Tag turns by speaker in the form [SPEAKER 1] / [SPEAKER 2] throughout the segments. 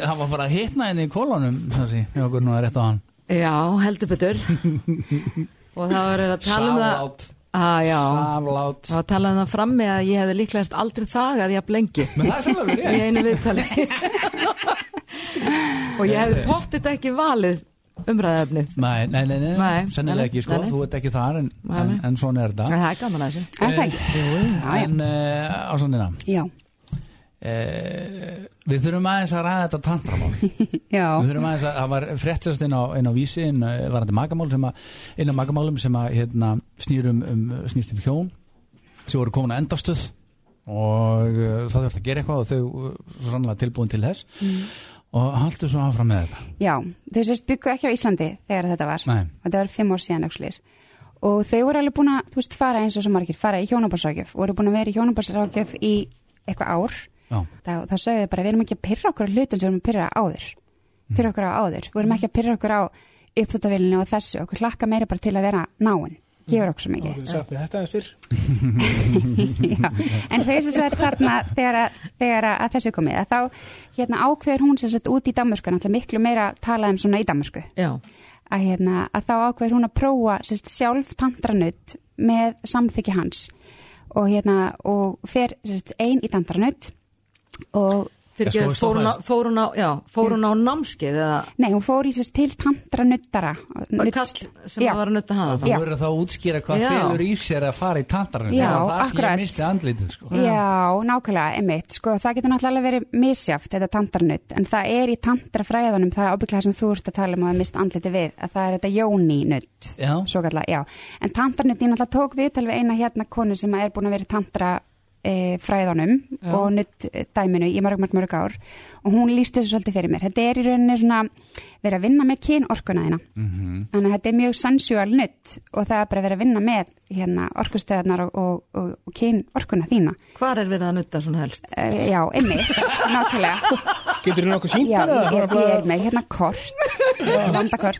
[SPEAKER 1] hann var bara að hitna henni í kolonum þessi, hjá okkur nú er rétt á hann
[SPEAKER 2] Já, heldur betur Og það var að tala um það
[SPEAKER 1] Saflát,
[SPEAKER 2] ah, já,
[SPEAKER 1] saflát
[SPEAKER 2] Það var að tala um það frammi að ég hefði líklegast aldrei þagað jafn lengi
[SPEAKER 1] Men það er sjálfur
[SPEAKER 2] í
[SPEAKER 1] rétt
[SPEAKER 2] einu viðtali Og ég hefði pottit ekki valið umræðaefnið
[SPEAKER 1] Nei, nei, nei, nei,
[SPEAKER 2] Nei,
[SPEAKER 1] sennilega
[SPEAKER 2] nei,
[SPEAKER 1] ekki sko,
[SPEAKER 2] nei, nei.
[SPEAKER 1] þú ert ekki þar en,
[SPEAKER 2] Nei,
[SPEAKER 1] en,
[SPEAKER 2] nei.
[SPEAKER 1] en svona er
[SPEAKER 2] En
[SPEAKER 1] þetta
[SPEAKER 2] það er gaman að þessu
[SPEAKER 1] Eh,
[SPEAKER 3] það ekki? Já, já.
[SPEAKER 1] En uh, á svona
[SPEAKER 3] Eh, Já,
[SPEAKER 1] eh, Við þurfum aðeins að ræða þetta tantramál Við
[SPEAKER 3] já,
[SPEAKER 1] þurfum aðeins að, það var fréttast inn á, inn á vísi inn, eh, var þetta magamál sem að, inn á magamálum sem að hérna, snýr um, um, snýst um hjón sem voru komin að endastöð og uh, það þurfti að gera eitthvað og þau uh, svo sannlega tilbúin til þess
[SPEAKER 3] Mm.
[SPEAKER 1] og haldu svo áfram með þetta
[SPEAKER 3] já. Þau sérst byggu ekki á Íslandi þegar þetta var.
[SPEAKER 1] Nei,
[SPEAKER 3] og þetta var fimm ár síðan aukslir og þau voru alveg búin að, þú veist, fara eins og svo margir, fara í hjónabarsrákjöf, voru búin að vera í hjónabarsrákjöf í eitthvað ár
[SPEAKER 1] já,
[SPEAKER 3] þá, þá sögðu þau bara, við erum ekki að pyrra okkur á hlutum sem við erum að pyrra áður pyrra okkur á áður, við erum ekki að pyrra okkur á uppdóttavélinu og þessu, okkur hlakka meira bara til að vera náinn, gefur okkur svo
[SPEAKER 4] Þá
[SPEAKER 3] mikið
[SPEAKER 4] getur sagt mér þetta eins fyrr.
[SPEAKER 3] Já, en þau sem sagt þarna þegar, að, þegar að að þessu komið að þá hérna ákveður hún sem sagt út í Danmörku náttúrulega miklu meira talað um svona í Danmörku
[SPEAKER 2] Já,
[SPEAKER 3] að, hérna, að þá ákveður hún að prófa sérst, sjálf tandranutt með samþykki hans og, hérna, og fer sérst, ein í tandranutt og
[SPEAKER 2] fyrir
[SPEAKER 1] Ég
[SPEAKER 2] ekki,
[SPEAKER 1] sko,
[SPEAKER 2] fór hún á,
[SPEAKER 1] stoppaðist.
[SPEAKER 2] fór hún á, já, fór hún á námskeið eða
[SPEAKER 3] nei, hún fór í sérst, til tandranuttara Nutt-
[SPEAKER 2] kall sem
[SPEAKER 3] Já.
[SPEAKER 2] var að nutta hana þá.
[SPEAKER 1] þú
[SPEAKER 3] Já.
[SPEAKER 1] verður þá að útskýra hvað
[SPEAKER 2] Já.
[SPEAKER 1] félur í sér að fara í tantarinn
[SPEAKER 3] Já,
[SPEAKER 1] það var það sem
[SPEAKER 3] akkurat. Mm.
[SPEAKER 1] ég misti andlitið sko.
[SPEAKER 3] Já, nákvæmlega, einmitt, sko, það getur náttúrulega alveg verið misjáft, þetta tandranutt, en það er í tandrafræðanum, það er ábygglega sem þú ert að tala um að það mist andliti við, að það er þetta jóninutt,
[SPEAKER 1] Já.
[SPEAKER 3] svo kallega, já, en tandranutt, ég náttúrulega tók viðtal við eina hérna konu sem er búin að vera í tantra e, fræðanum
[SPEAKER 2] Já.
[SPEAKER 3] og nutt dæminu í mörg, mörg, mörg ár og hún líst þessu svolítið fyrir mér, þetta er í rauninni svona verið að vinna með kynorkuna þína þannig að þetta er mjög sensual nutt og það er bara verið að vinna með hérna, orkustöðarnar og, og, og, og kyn orkuna þína
[SPEAKER 2] Hvar er verið að nutta svona helst?
[SPEAKER 3] uh, já, einmitt, nákvæmlega
[SPEAKER 4] Getur þú nokkuð sínt
[SPEAKER 3] já,
[SPEAKER 4] hana?
[SPEAKER 3] ég, ég er með hérna kort landakort,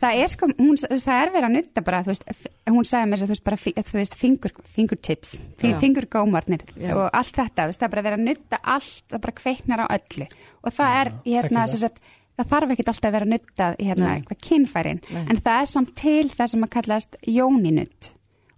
[SPEAKER 3] það er sko hún, þú veist, það er verið að nutta bara þú veist, f- hún sagði mér þess að þú veist, bara, fi- þú veist fingur, fingertips,
[SPEAKER 2] Já.
[SPEAKER 3] fi- fingurgómarnir
[SPEAKER 2] Já.
[SPEAKER 3] og allt þetta, þú veist, það er bara verið að nutta allt, það bara kveiknar á öllu og það er, hérna,
[SPEAKER 4] þekki
[SPEAKER 3] þess að það þarf ekkert alltaf að vera nuttað hérna,
[SPEAKER 2] Nei.
[SPEAKER 3] eitthvað kynfærin,
[SPEAKER 2] Nei.
[SPEAKER 3] en það er samt til það sem að kallast jóninutt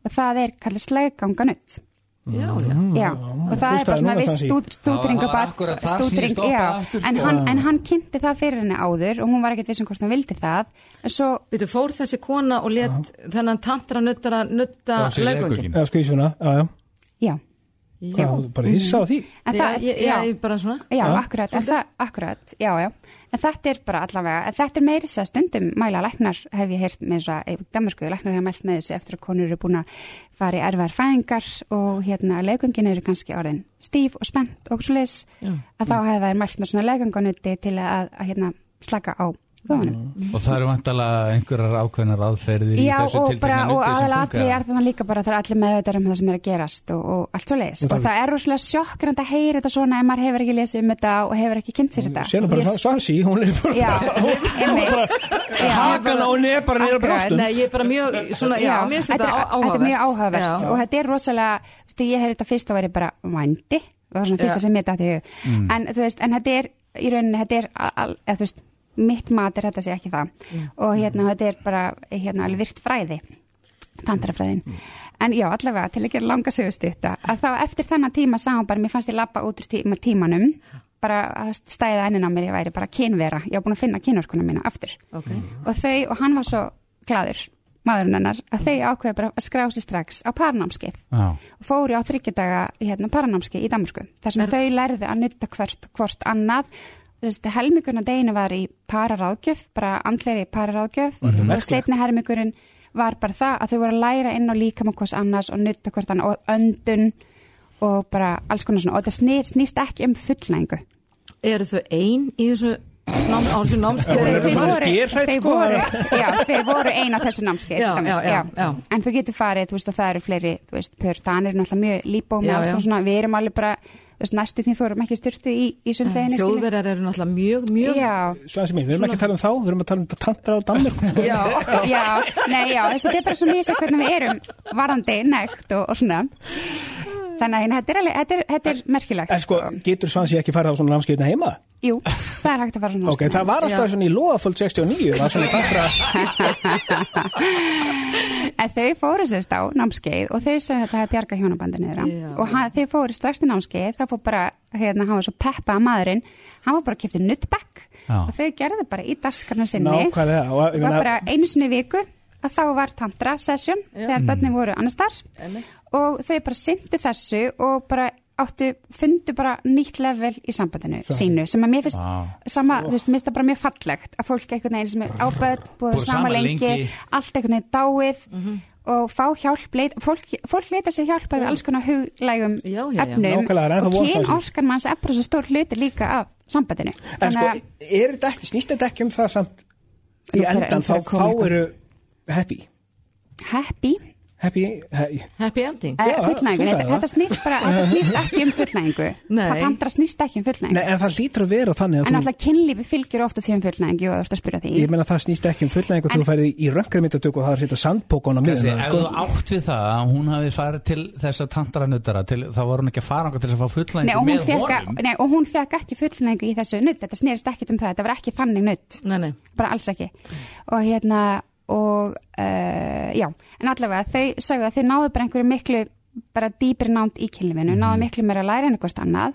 [SPEAKER 3] og það er kallast slegganganutt
[SPEAKER 2] Já, já.
[SPEAKER 3] Mm. já,
[SPEAKER 4] já.
[SPEAKER 3] og það er bara
[SPEAKER 4] Hlustaðu
[SPEAKER 3] svona
[SPEAKER 4] núna,
[SPEAKER 3] viss
[SPEAKER 4] Sassi.
[SPEAKER 3] stúd, stúdringa
[SPEAKER 1] Það var akkúrat þar sem ég stoppaði aftur, sko.
[SPEAKER 3] en, hann, en hann kynnti það fyrir henni áður og hún var ekkert viss um hvort hún vildi það en svo,
[SPEAKER 2] Býtu, fór þessi kona og let þennan tantra nuttara nutta
[SPEAKER 1] Já, sér
[SPEAKER 2] leggöngin?
[SPEAKER 1] leggöngin.
[SPEAKER 4] Já, sko í svona, já, já.
[SPEAKER 3] já
[SPEAKER 4] Já, bara hissa á því.
[SPEAKER 3] en
[SPEAKER 2] Já,
[SPEAKER 3] það,
[SPEAKER 2] ég,
[SPEAKER 3] já,
[SPEAKER 2] ég, ég bara svona
[SPEAKER 3] já,
[SPEAKER 4] Já.
[SPEAKER 3] akkurat, en það, akkurat já, já, en þetta er bara allavega en þetta er meiri sér stundum mæla læknar hef ég heyrt með þess að, Danmarku læknar hef mælt með þessu eftir að konur eru búin að fara í erfar fæðingar og hérna legungin eru kannski orðin stíf og spennt og svo leis að þá hefði þær mælt með svona legunganuti til að, að hérna slaka á vöðunum
[SPEAKER 1] og það eru vantalega einhverjar ákveðnar aðferðir í
[SPEAKER 3] Já,
[SPEAKER 1] þessu
[SPEAKER 3] og
[SPEAKER 1] tiltekna
[SPEAKER 3] bara, og
[SPEAKER 1] nutti sem
[SPEAKER 3] aðal atrið
[SPEAKER 1] funkar.
[SPEAKER 3] er þannig líka bara að það er allir meðvitað um það sem er að gerast og, og allt svo leiðis. Og það er rosalega sjokkrand að heyra þetta svona ef maður hefur ekki lesið um þetta og hefur ekki kynnt sér þetta.
[SPEAKER 4] Sérna bara
[SPEAKER 3] Ég-
[SPEAKER 4] yes. Svansi, hún er bara,
[SPEAKER 3] Já,
[SPEAKER 4] hún
[SPEAKER 3] einmitt.
[SPEAKER 4] er bara
[SPEAKER 3] Já.
[SPEAKER 4] hakan á henni er bara neyra
[SPEAKER 3] Akkurat,
[SPEAKER 4] brjóstum.
[SPEAKER 2] Nei, ég er bara mjög svona, já, mér finnst þetta
[SPEAKER 3] þetta er-
[SPEAKER 2] á- áhugavert
[SPEAKER 3] Þetta er mjög áhugavert
[SPEAKER 2] Já.
[SPEAKER 3] og þetta er rosalega, þú veist, ég heyrði þetta fyrst að væri bara vændi, það var svona
[SPEAKER 2] Já.
[SPEAKER 3] fyrsta sem ég dætti hug, en þú veist, en þetta er í rauninni, þetta er, al, al, eða, þú veist, mitt mat er þetta sé ekki það og hérna, þetta er bara, hérna, alveg virt fræði, tandrafræðin en já, allavega, til að gera langa sögust þetta, að þá eftir þennan tíma sá hún bara, mér fannst ég labba út úr tíma, tímanum bara að stæða ennin á mér ég væri bara kynvera, ég var búin að finna kynorkuna mína aftur
[SPEAKER 2] Ok,
[SPEAKER 3] og þau, og hann var svo gladur, maðurinn hennar, að þau ákveða bara að skrá sig strax á parnámskeið
[SPEAKER 1] Já,
[SPEAKER 3] og fóru á þryggjudaga hérna, parnámskeið í Danmarku, þar sem þau lærðu að nutta hvort, hvort annað Þessi, helmingurinn að deginu var í pararáðgjöf, bara andleri pararáðgjöf og setni helmingurinn var bara það að þau voru að læra inn á líkam og hvers annars og nutta hvort annað og öndun og bara alls konar svona og þetta snýr, snýst ekki um fullnæðingu
[SPEAKER 2] eru þau ein í þessu nám, á þessu
[SPEAKER 4] Það
[SPEAKER 2] námskeið
[SPEAKER 4] eru
[SPEAKER 3] Þeir
[SPEAKER 4] svona
[SPEAKER 3] voru-
[SPEAKER 4] skerhrædd,
[SPEAKER 3] þeir
[SPEAKER 4] sko.
[SPEAKER 3] voru, já, þeir voru eina þessu námskeið
[SPEAKER 2] Já,
[SPEAKER 3] til dæmis,
[SPEAKER 2] já, já, já.
[SPEAKER 3] en þú getur farið, þú veist, og það eru fleiri þú veist, pör, það er náttúrulega mjög líbó
[SPEAKER 2] Já,
[SPEAKER 3] með alls
[SPEAKER 2] já.
[SPEAKER 3] konar svona, við erum alveg bara þú veist, næstu því þú erum ekki styrtu í, í sundleginni
[SPEAKER 2] Þjóðverjar eru náttúrulega mjög, mjög
[SPEAKER 3] já,
[SPEAKER 4] Svansi mín, við erum ekki að tala um þá, við erum að tala um tantra á Danmark.
[SPEAKER 2] Já,
[SPEAKER 3] já, nei, já, þess að þetta er bara svo mjög sér hvernig við erum varandi nekt og, og svona þannig að hérna, þetta er, alveg, þetta er, þetta er merkilegt
[SPEAKER 4] En sko, getur svo hans ég ekki farið á svona námskeiðna heima?
[SPEAKER 3] jú, það er hægt að fara svona
[SPEAKER 4] Ok, það var alltaf
[SPEAKER 2] Já.
[SPEAKER 4] svona í loðaföld 69, það var svona tantra,
[SPEAKER 3] En þau fóru sérst á námskeið og þau sem þetta hefði bjarga hjónabandinu þeirra
[SPEAKER 2] Já.
[SPEAKER 3] og hann, þau fóru strax til námskeið þá fór bara, hérna, hann var svo peppa að maðurinn hann var bara að kipta nuttbekk
[SPEAKER 1] Já.
[SPEAKER 3] og þau gerðu bara í daskarna sinni
[SPEAKER 4] nákvæmlega, og
[SPEAKER 3] það
[SPEAKER 4] ég
[SPEAKER 3] var
[SPEAKER 4] meina,
[SPEAKER 3] bara einu sinni í viku að þá var tantra session
[SPEAKER 4] Mm.
[SPEAKER 3] þegar börnin voru annars þar
[SPEAKER 2] Einmitt.
[SPEAKER 3] og þau bara syndu þessu og bara áttu, fundu bara nýtt level í sambandinu sínu sem að mér finnst
[SPEAKER 1] Vá.
[SPEAKER 3] sama, þú veist, mér finnst það bara mjög fallegt að fólk einhvern veginn sem er ábæð búið
[SPEAKER 1] Búið
[SPEAKER 3] sama
[SPEAKER 1] saman
[SPEAKER 3] lengi,
[SPEAKER 1] lengi.
[SPEAKER 3] allt einhvern veginn dáið
[SPEAKER 2] Mhm.
[SPEAKER 3] og fá hjálp leit, fólk, fólk leita sér hjálp við alls konar huglægum
[SPEAKER 2] Já, já, já.
[SPEAKER 3] efnum
[SPEAKER 4] Nákvæmlega, það er ennþá
[SPEAKER 3] og
[SPEAKER 4] von frá þessu.
[SPEAKER 3] kynorkan manns er bara svo stór hluti líka af sambandinu
[SPEAKER 4] en sko,
[SPEAKER 3] að-
[SPEAKER 4] er þetta ekki, snýst þetta ekki um það samt,
[SPEAKER 3] Nú
[SPEAKER 4] í
[SPEAKER 3] fer- nú
[SPEAKER 4] endan þá
[SPEAKER 3] fer að koma
[SPEAKER 4] þá
[SPEAKER 3] eitthvað.
[SPEAKER 4] eru happy,
[SPEAKER 3] happy
[SPEAKER 4] happy, he-
[SPEAKER 2] Happy ending
[SPEAKER 3] Eh,
[SPEAKER 4] Já,
[SPEAKER 3] fullnægingu,
[SPEAKER 4] þú
[SPEAKER 3] þetta,
[SPEAKER 4] sagðir það.
[SPEAKER 3] þetta snýst bara þetta snýst ekki um fullnægingu
[SPEAKER 2] Nei.
[SPEAKER 3] það tantra snýst ekki um fullnægingu
[SPEAKER 4] nei, en það lítur að vera þannig
[SPEAKER 3] en
[SPEAKER 4] að þú,
[SPEAKER 3] alltaf kynlífi fylgjur ofta síðan um fullnægingu og þú ert að spyrja því
[SPEAKER 4] ég meina það snýst ekki um fullnæðing og
[SPEAKER 3] En-
[SPEAKER 4] þú færið í röngramyndatöku og það er að setja sandpókon á
[SPEAKER 1] Þessi,
[SPEAKER 4] miðan,
[SPEAKER 1] ef
[SPEAKER 4] sko,
[SPEAKER 1] þú átt við það að hún hafi farið til þessa tantranuttara til, þá var hún ekki að fara angað til þess að fá
[SPEAKER 3] nei, og,
[SPEAKER 1] fullnæðingu
[SPEAKER 3] hún
[SPEAKER 1] með
[SPEAKER 3] fekk,
[SPEAKER 1] honum
[SPEAKER 3] nei, og hún fekk ekki fullnægingu í þessu nutt þetta snýrist ekkit um það, þetta var ekki þannig nutt
[SPEAKER 2] Nei, nei
[SPEAKER 3] bara alls ekki og hérna og uh, já, en allavega þau sagði að þau náðu bara einhverju miklu bara dýpir nánd í kynlífinu,
[SPEAKER 1] Mhm.
[SPEAKER 3] náðu miklu meira að læra en eitthvað annað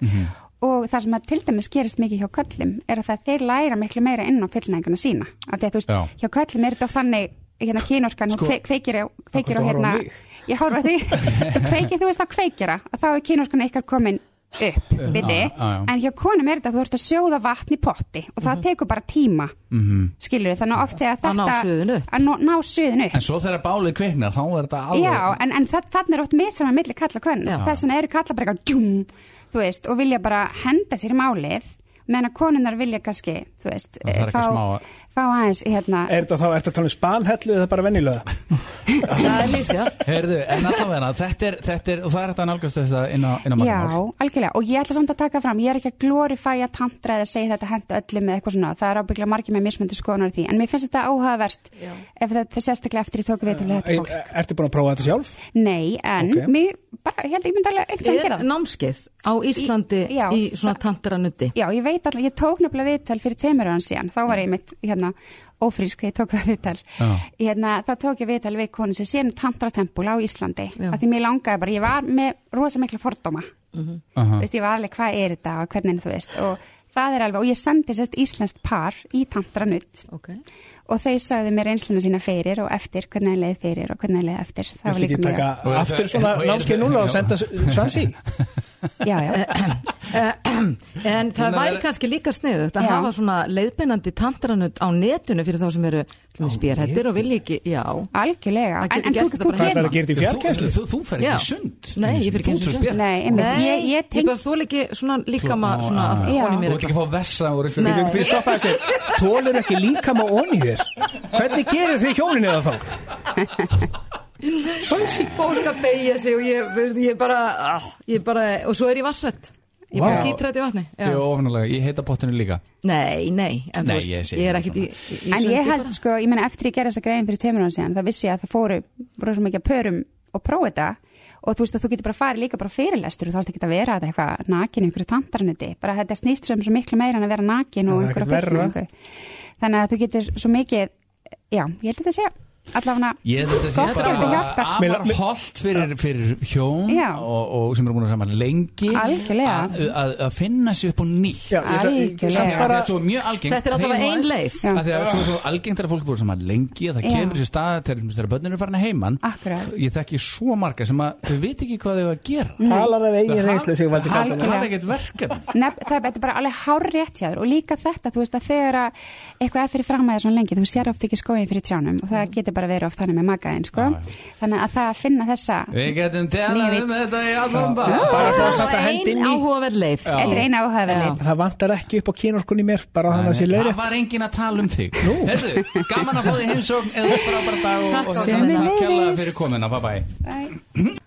[SPEAKER 3] og það sem að til dæmis gerist mikið hjá köllum er að það þeir læra miklu meira inn á fullnæðinguna sína að því að þú veist,
[SPEAKER 1] Já.
[SPEAKER 3] hjá köllum er þetta oft þannig hérna kynorkan,
[SPEAKER 1] Sko-
[SPEAKER 3] hún kve- kveikir á- kveikir
[SPEAKER 4] Akkur
[SPEAKER 3] á
[SPEAKER 4] þú horfir á
[SPEAKER 3] hérna
[SPEAKER 4] mig?
[SPEAKER 3] ég horfa því, þú kveikir, þú veist á kveikjara að þá er kynorkan ykkar komin upp,
[SPEAKER 1] Upp,
[SPEAKER 3] við
[SPEAKER 1] já, já, já. Mhm.
[SPEAKER 3] en hjá konum er þetta að þú ert að sjóða vatn í potti og það tekur bara tíma
[SPEAKER 1] mm
[SPEAKER 3] skilur þið, þannig að oft þegar
[SPEAKER 2] Að ná
[SPEAKER 3] þetta
[SPEAKER 2] suðinu upp.
[SPEAKER 3] að ná, ná suðinu upp
[SPEAKER 1] En svo þegar bálið kviknar, þá er þetta alveg
[SPEAKER 3] já, en, en það, þannig er oft misanum að milli kalla hvern
[SPEAKER 2] Já.
[SPEAKER 3] þess vegna eru kalla bara eitthvað djúm, þú veist, og vilja bara henda sér í málið meðan að konunar vilja kannski, þú veist eh,
[SPEAKER 1] Það þarf
[SPEAKER 3] fá,
[SPEAKER 1] eitthvað smá að-
[SPEAKER 3] fá aðeins, hérna
[SPEAKER 4] er þetta þá, er þetta talað um spanhellu eða bara venjulega?
[SPEAKER 2] Það er lísjátt
[SPEAKER 1] Heyrðu, en allavega, þetta er, þetta er, og það er þetta að nálgast þess að inn á, inn á
[SPEAKER 3] Já,
[SPEAKER 1] magamál.
[SPEAKER 3] algjörlega, og ég ætla samt að taka fram ég er ekki að glorifæja tantra eða segja þetta hendu öllum eða eitthvað svona, það er ábygglega margir með mismöndu skoðunar í því, en mér finnst þetta áhugavert
[SPEAKER 2] Já.
[SPEAKER 3] ef þetta er sérstaklega eftir ég tók við til þetta
[SPEAKER 4] Ei,
[SPEAKER 3] fólk.
[SPEAKER 4] Ertu búin að prófa þetta sjálf?
[SPEAKER 3] Nei, en
[SPEAKER 4] Ok.
[SPEAKER 3] mér, bara, ég held ég myndi alveg einhvern veginn
[SPEAKER 2] Er
[SPEAKER 3] gera það.
[SPEAKER 2] námskeið á Íslandi
[SPEAKER 3] Í- já,
[SPEAKER 2] í svona tantranutti
[SPEAKER 3] Já, ég veit alltaf, ég tók nefnilega viðtal fyrir tveimur ára síðan, þá var ég mitt hérna, ófrísk þegar ég tók það viðtal
[SPEAKER 1] Já.
[SPEAKER 3] hérna, þá tók ég viðtal við konu sem sér um tantratempul á Íslandi,
[SPEAKER 2] Já.
[SPEAKER 3] af því mér langaði bara, ég var með rosa mikla fordóma
[SPEAKER 1] Aha.
[SPEAKER 3] veist, ég var alveg hvað er þetta og hvernig þú veist og það er alveg, og ég sendi sérst íslenskt par í tantranutt
[SPEAKER 2] Ok
[SPEAKER 3] og þau sagði mér einsluna sína fyrir og eftir, hvernig þeim leið fyrir og hvernig þeim leið eftir það var
[SPEAKER 4] Viltu
[SPEAKER 3] líka
[SPEAKER 4] ekki
[SPEAKER 3] mjög,
[SPEAKER 4] taka
[SPEAKER 1] Og er
[SPEAKER 4] aftur
[SPEAKER 1] það-
[SPEAKER 4] svona
[SPEAKER 1] og er
[SPEAKER 4] námskeið
[SPEAKER 1] það-
[SPEAKER 4] núna og
[SPEAKER 1] já.
[SPEAKER 4] senda s- svansi?
[SPEAKER 3] já, já,
[SPEAKER 2] Eh, En það
[SPEAKER 1] Þannig að
[SPEAKER 2] væri
[SPEAKER 1] vera-
[SPEAKER 2] kannski líka sniðugt að
[SPEAKER 3] Já.
[SPEAKER 2] hafa svona leiðbeinandi tantranut á netinu fyrir þá sem eru sem spérhættir og vilja ekki, já Það
[SPEAKER 3] algjörlega
[SPEAKER 2] getur
[SPEAKER 3] en, en
[SPEAKER 2] gert
[SPEAKER 3] þú,
[SPEAKER 2] þetta
[SPEAKER 3] þú
[SPEAKER 2] bara
[SPEAKER 4] Hvað
[SPEAKER 2] heima.
[SPEAKER 4] er það
[SPEAKER 3] gerir
[SPEAKER 4] að gera þetta í fjarkæslu?
[SPEAKER 1] Þú, þú, þú fer ekki
[SPEAKER 2] Já.
[SPEAKER 1] í sund.
[SPEAKER 2] Nei, ég fer ekki
[SPEAKER 1] Þú
[SPEAKER 2] í
[SPEAKER 1] ert svo
[SPEAKER 2] sund.
[SPEAKER 1] spjart.
[SPEAKER 3] Nei, einmitt, ég, ég
[SPEAKER 2] ég
[SPEAKER 3] tenk
[SPEAKER 2] bara þól ekki svona líkama
[SPEAKER 1] Á,
[SPEAKER 2] svona
[SPEAKER 1] á,
[SPEAKER 2] að-
[SPEAKER 1] á.
[SPEAKER 3] Já.
[SPEAKER 2] ofan í
[SPEAKER 1] Þú
[SPEAKER 2] mér sko.
[SPEAKER 1] ert ekki að fá vessa úr ykkur.
[SPEAKER 2] Nei.
[SPEAKER 4] Við stoppaði sér, þólur ekki líka má onni þér Hvernig gerir þið hjónin eða þá?
[SPEAKER 2] Svansi Fólk að beigja sig og ég, veist, ég bara, ah, ég bara og svo er ég vassrætt Ég er bara
[SPEAKER 4] Vá.
[SPEAKER 2] skítrætt í vatni já.
[SPEAKER 1] Ég er ofanulega, ég heita pottinu líka.
[SPEAKER 2] Nei, nei, en
[SPEAKER 1] Nei,
[SPEAKER 2] þú veist,
[SPEAKER 1] ég
[SPEAKER 2] ég,
[SPEAKER 1] sé
[SPEAKER 2] er
[SPEAKER 1] það
[SPEAKER 2] ekkit í, í, í
[SPEAKER 3] En ég
[SPEAKER 2] sundi
[SPEAKER 3] held sko, ég meina eftir ég gerði þessa greiðin fyrir tveimur án síðan, það vissi ég að það fóru rosa mikið að pörum og prófa þetta og þú veist að þú getur bara farið líka bara á fyrirlestur og þá ertu ekki að vera þetta eitthvað nakin í einhverju tandranuti, bara þetta snýst sem svo miklu meira en að vera nakin og
[SPEAKER 4] Það er
[SPEAKER 3] einhverja
[SPEAKER 4] ekkert verra.
[SPEAKER 3] fullnægingu. Þannig að þú getur svo mikið, já, ég held að þetta sé allavega
[SPEAKER 1] Ég held að þetta sé
[SPEAKER 3] Gott
[SPEAKER 1] bara
[SPEAKER 3] að þetta hjálpar.
[SPEAKER 1] afar holdt fyrir, fyrir hjón
[SPEAKER 3] Já.
[SPEAKER 1] og, og sem eru búin að saman lengi
[SPEAKER 3] Algjörlega.
[SPEAKER 1] að- að að finna sér upp á nýtt.
[SPEAKER 4] Já, ég-
[SPEAKER 3] Algjörlega.
[SPEAKER 4] samt
[SPEAKER 1] Þegar
[SPEAKER 4] bara-
[SPEAKER 1] þetta er svo mjög algengt
[SPEAKER 2] Þetta er alltaf
[SPEAKER 1] heima
[SPEAKER 2] ein
[SPEAKER 1] aðeins,
[SPEAKER 2] leið.
[SPEAKER 3] Já.
[SPEAKER 1] að Þegar svo, svo algengt er að fólk búið saman lengi að það
[SPEAKER 3] Já.
[SPEAKER 1] kemur sér stað þegar, þegar börnir eru farin að heiman
[SPEAKER 3] Akkurat.
[SPEAKER 1] Ég þekki svo marga sem að þau veit ekki hvað þau eiga að gera
[SPEAKER 3] Mm.
[SPEAKER 4] Talar af eigin
[SPEAKER 1] Þau
[SPEAKER 4] reynslu sig valdi
[SPEAKER 1] hafa-
[SPEAKER 4] kallum
[SPEAKER 1] hafa
[SPEAKER 3] Algjörlega.
[SPEAKER 1] ekkert verkefni
[SPEAKER 3] Nefn, það þetta er bara alveg hár rétt hjá þér og líka þetta, þú veist að þegar að eitthvað er fyrir fram að þér svona lengi, þú sér oft ekki skóin fyrir trjánum og
[SPEAKER 4] Mm.
[SPEAKER 3] það getur bara verið oft þannig með magaðin, sko.
[SPEAKER 1] Já,
[SPEAKER 3] Þannig að það að finna þessa,
[SPEAKER 1] Við getum telað
[SPEAKER 3] Nývitt.
[SPEAKER 1] um þetta í allan bæ
[SPEAKER 4] Bara þá samt að hendi
[SPEAKER 2] Ein
[SPEAKER 4] inn í
[SPEAKER 2] áhugaverð leið
[SPEAKER 3] þetta er eina áhugaverðið.
[SPEAKER 4] Það vantar ekki upp á kynorkunni mér bara þannig að sé
[SPEAKER 1] Það
[SPEAKER 4] leiðrétt
[SPEAKER 1] var engin að tala um þig Heyrðu, Gaman að fá þig heimsókn eða frábæra dag og-
[SPEAKER 2] Takk
[SPEAKER 1] og-
[SPEAKER 2] sömuleiðis.
[SPEAKER 1] Takk kærlega fyrir komuna, bye bye
[SPEAKER 3] Bye.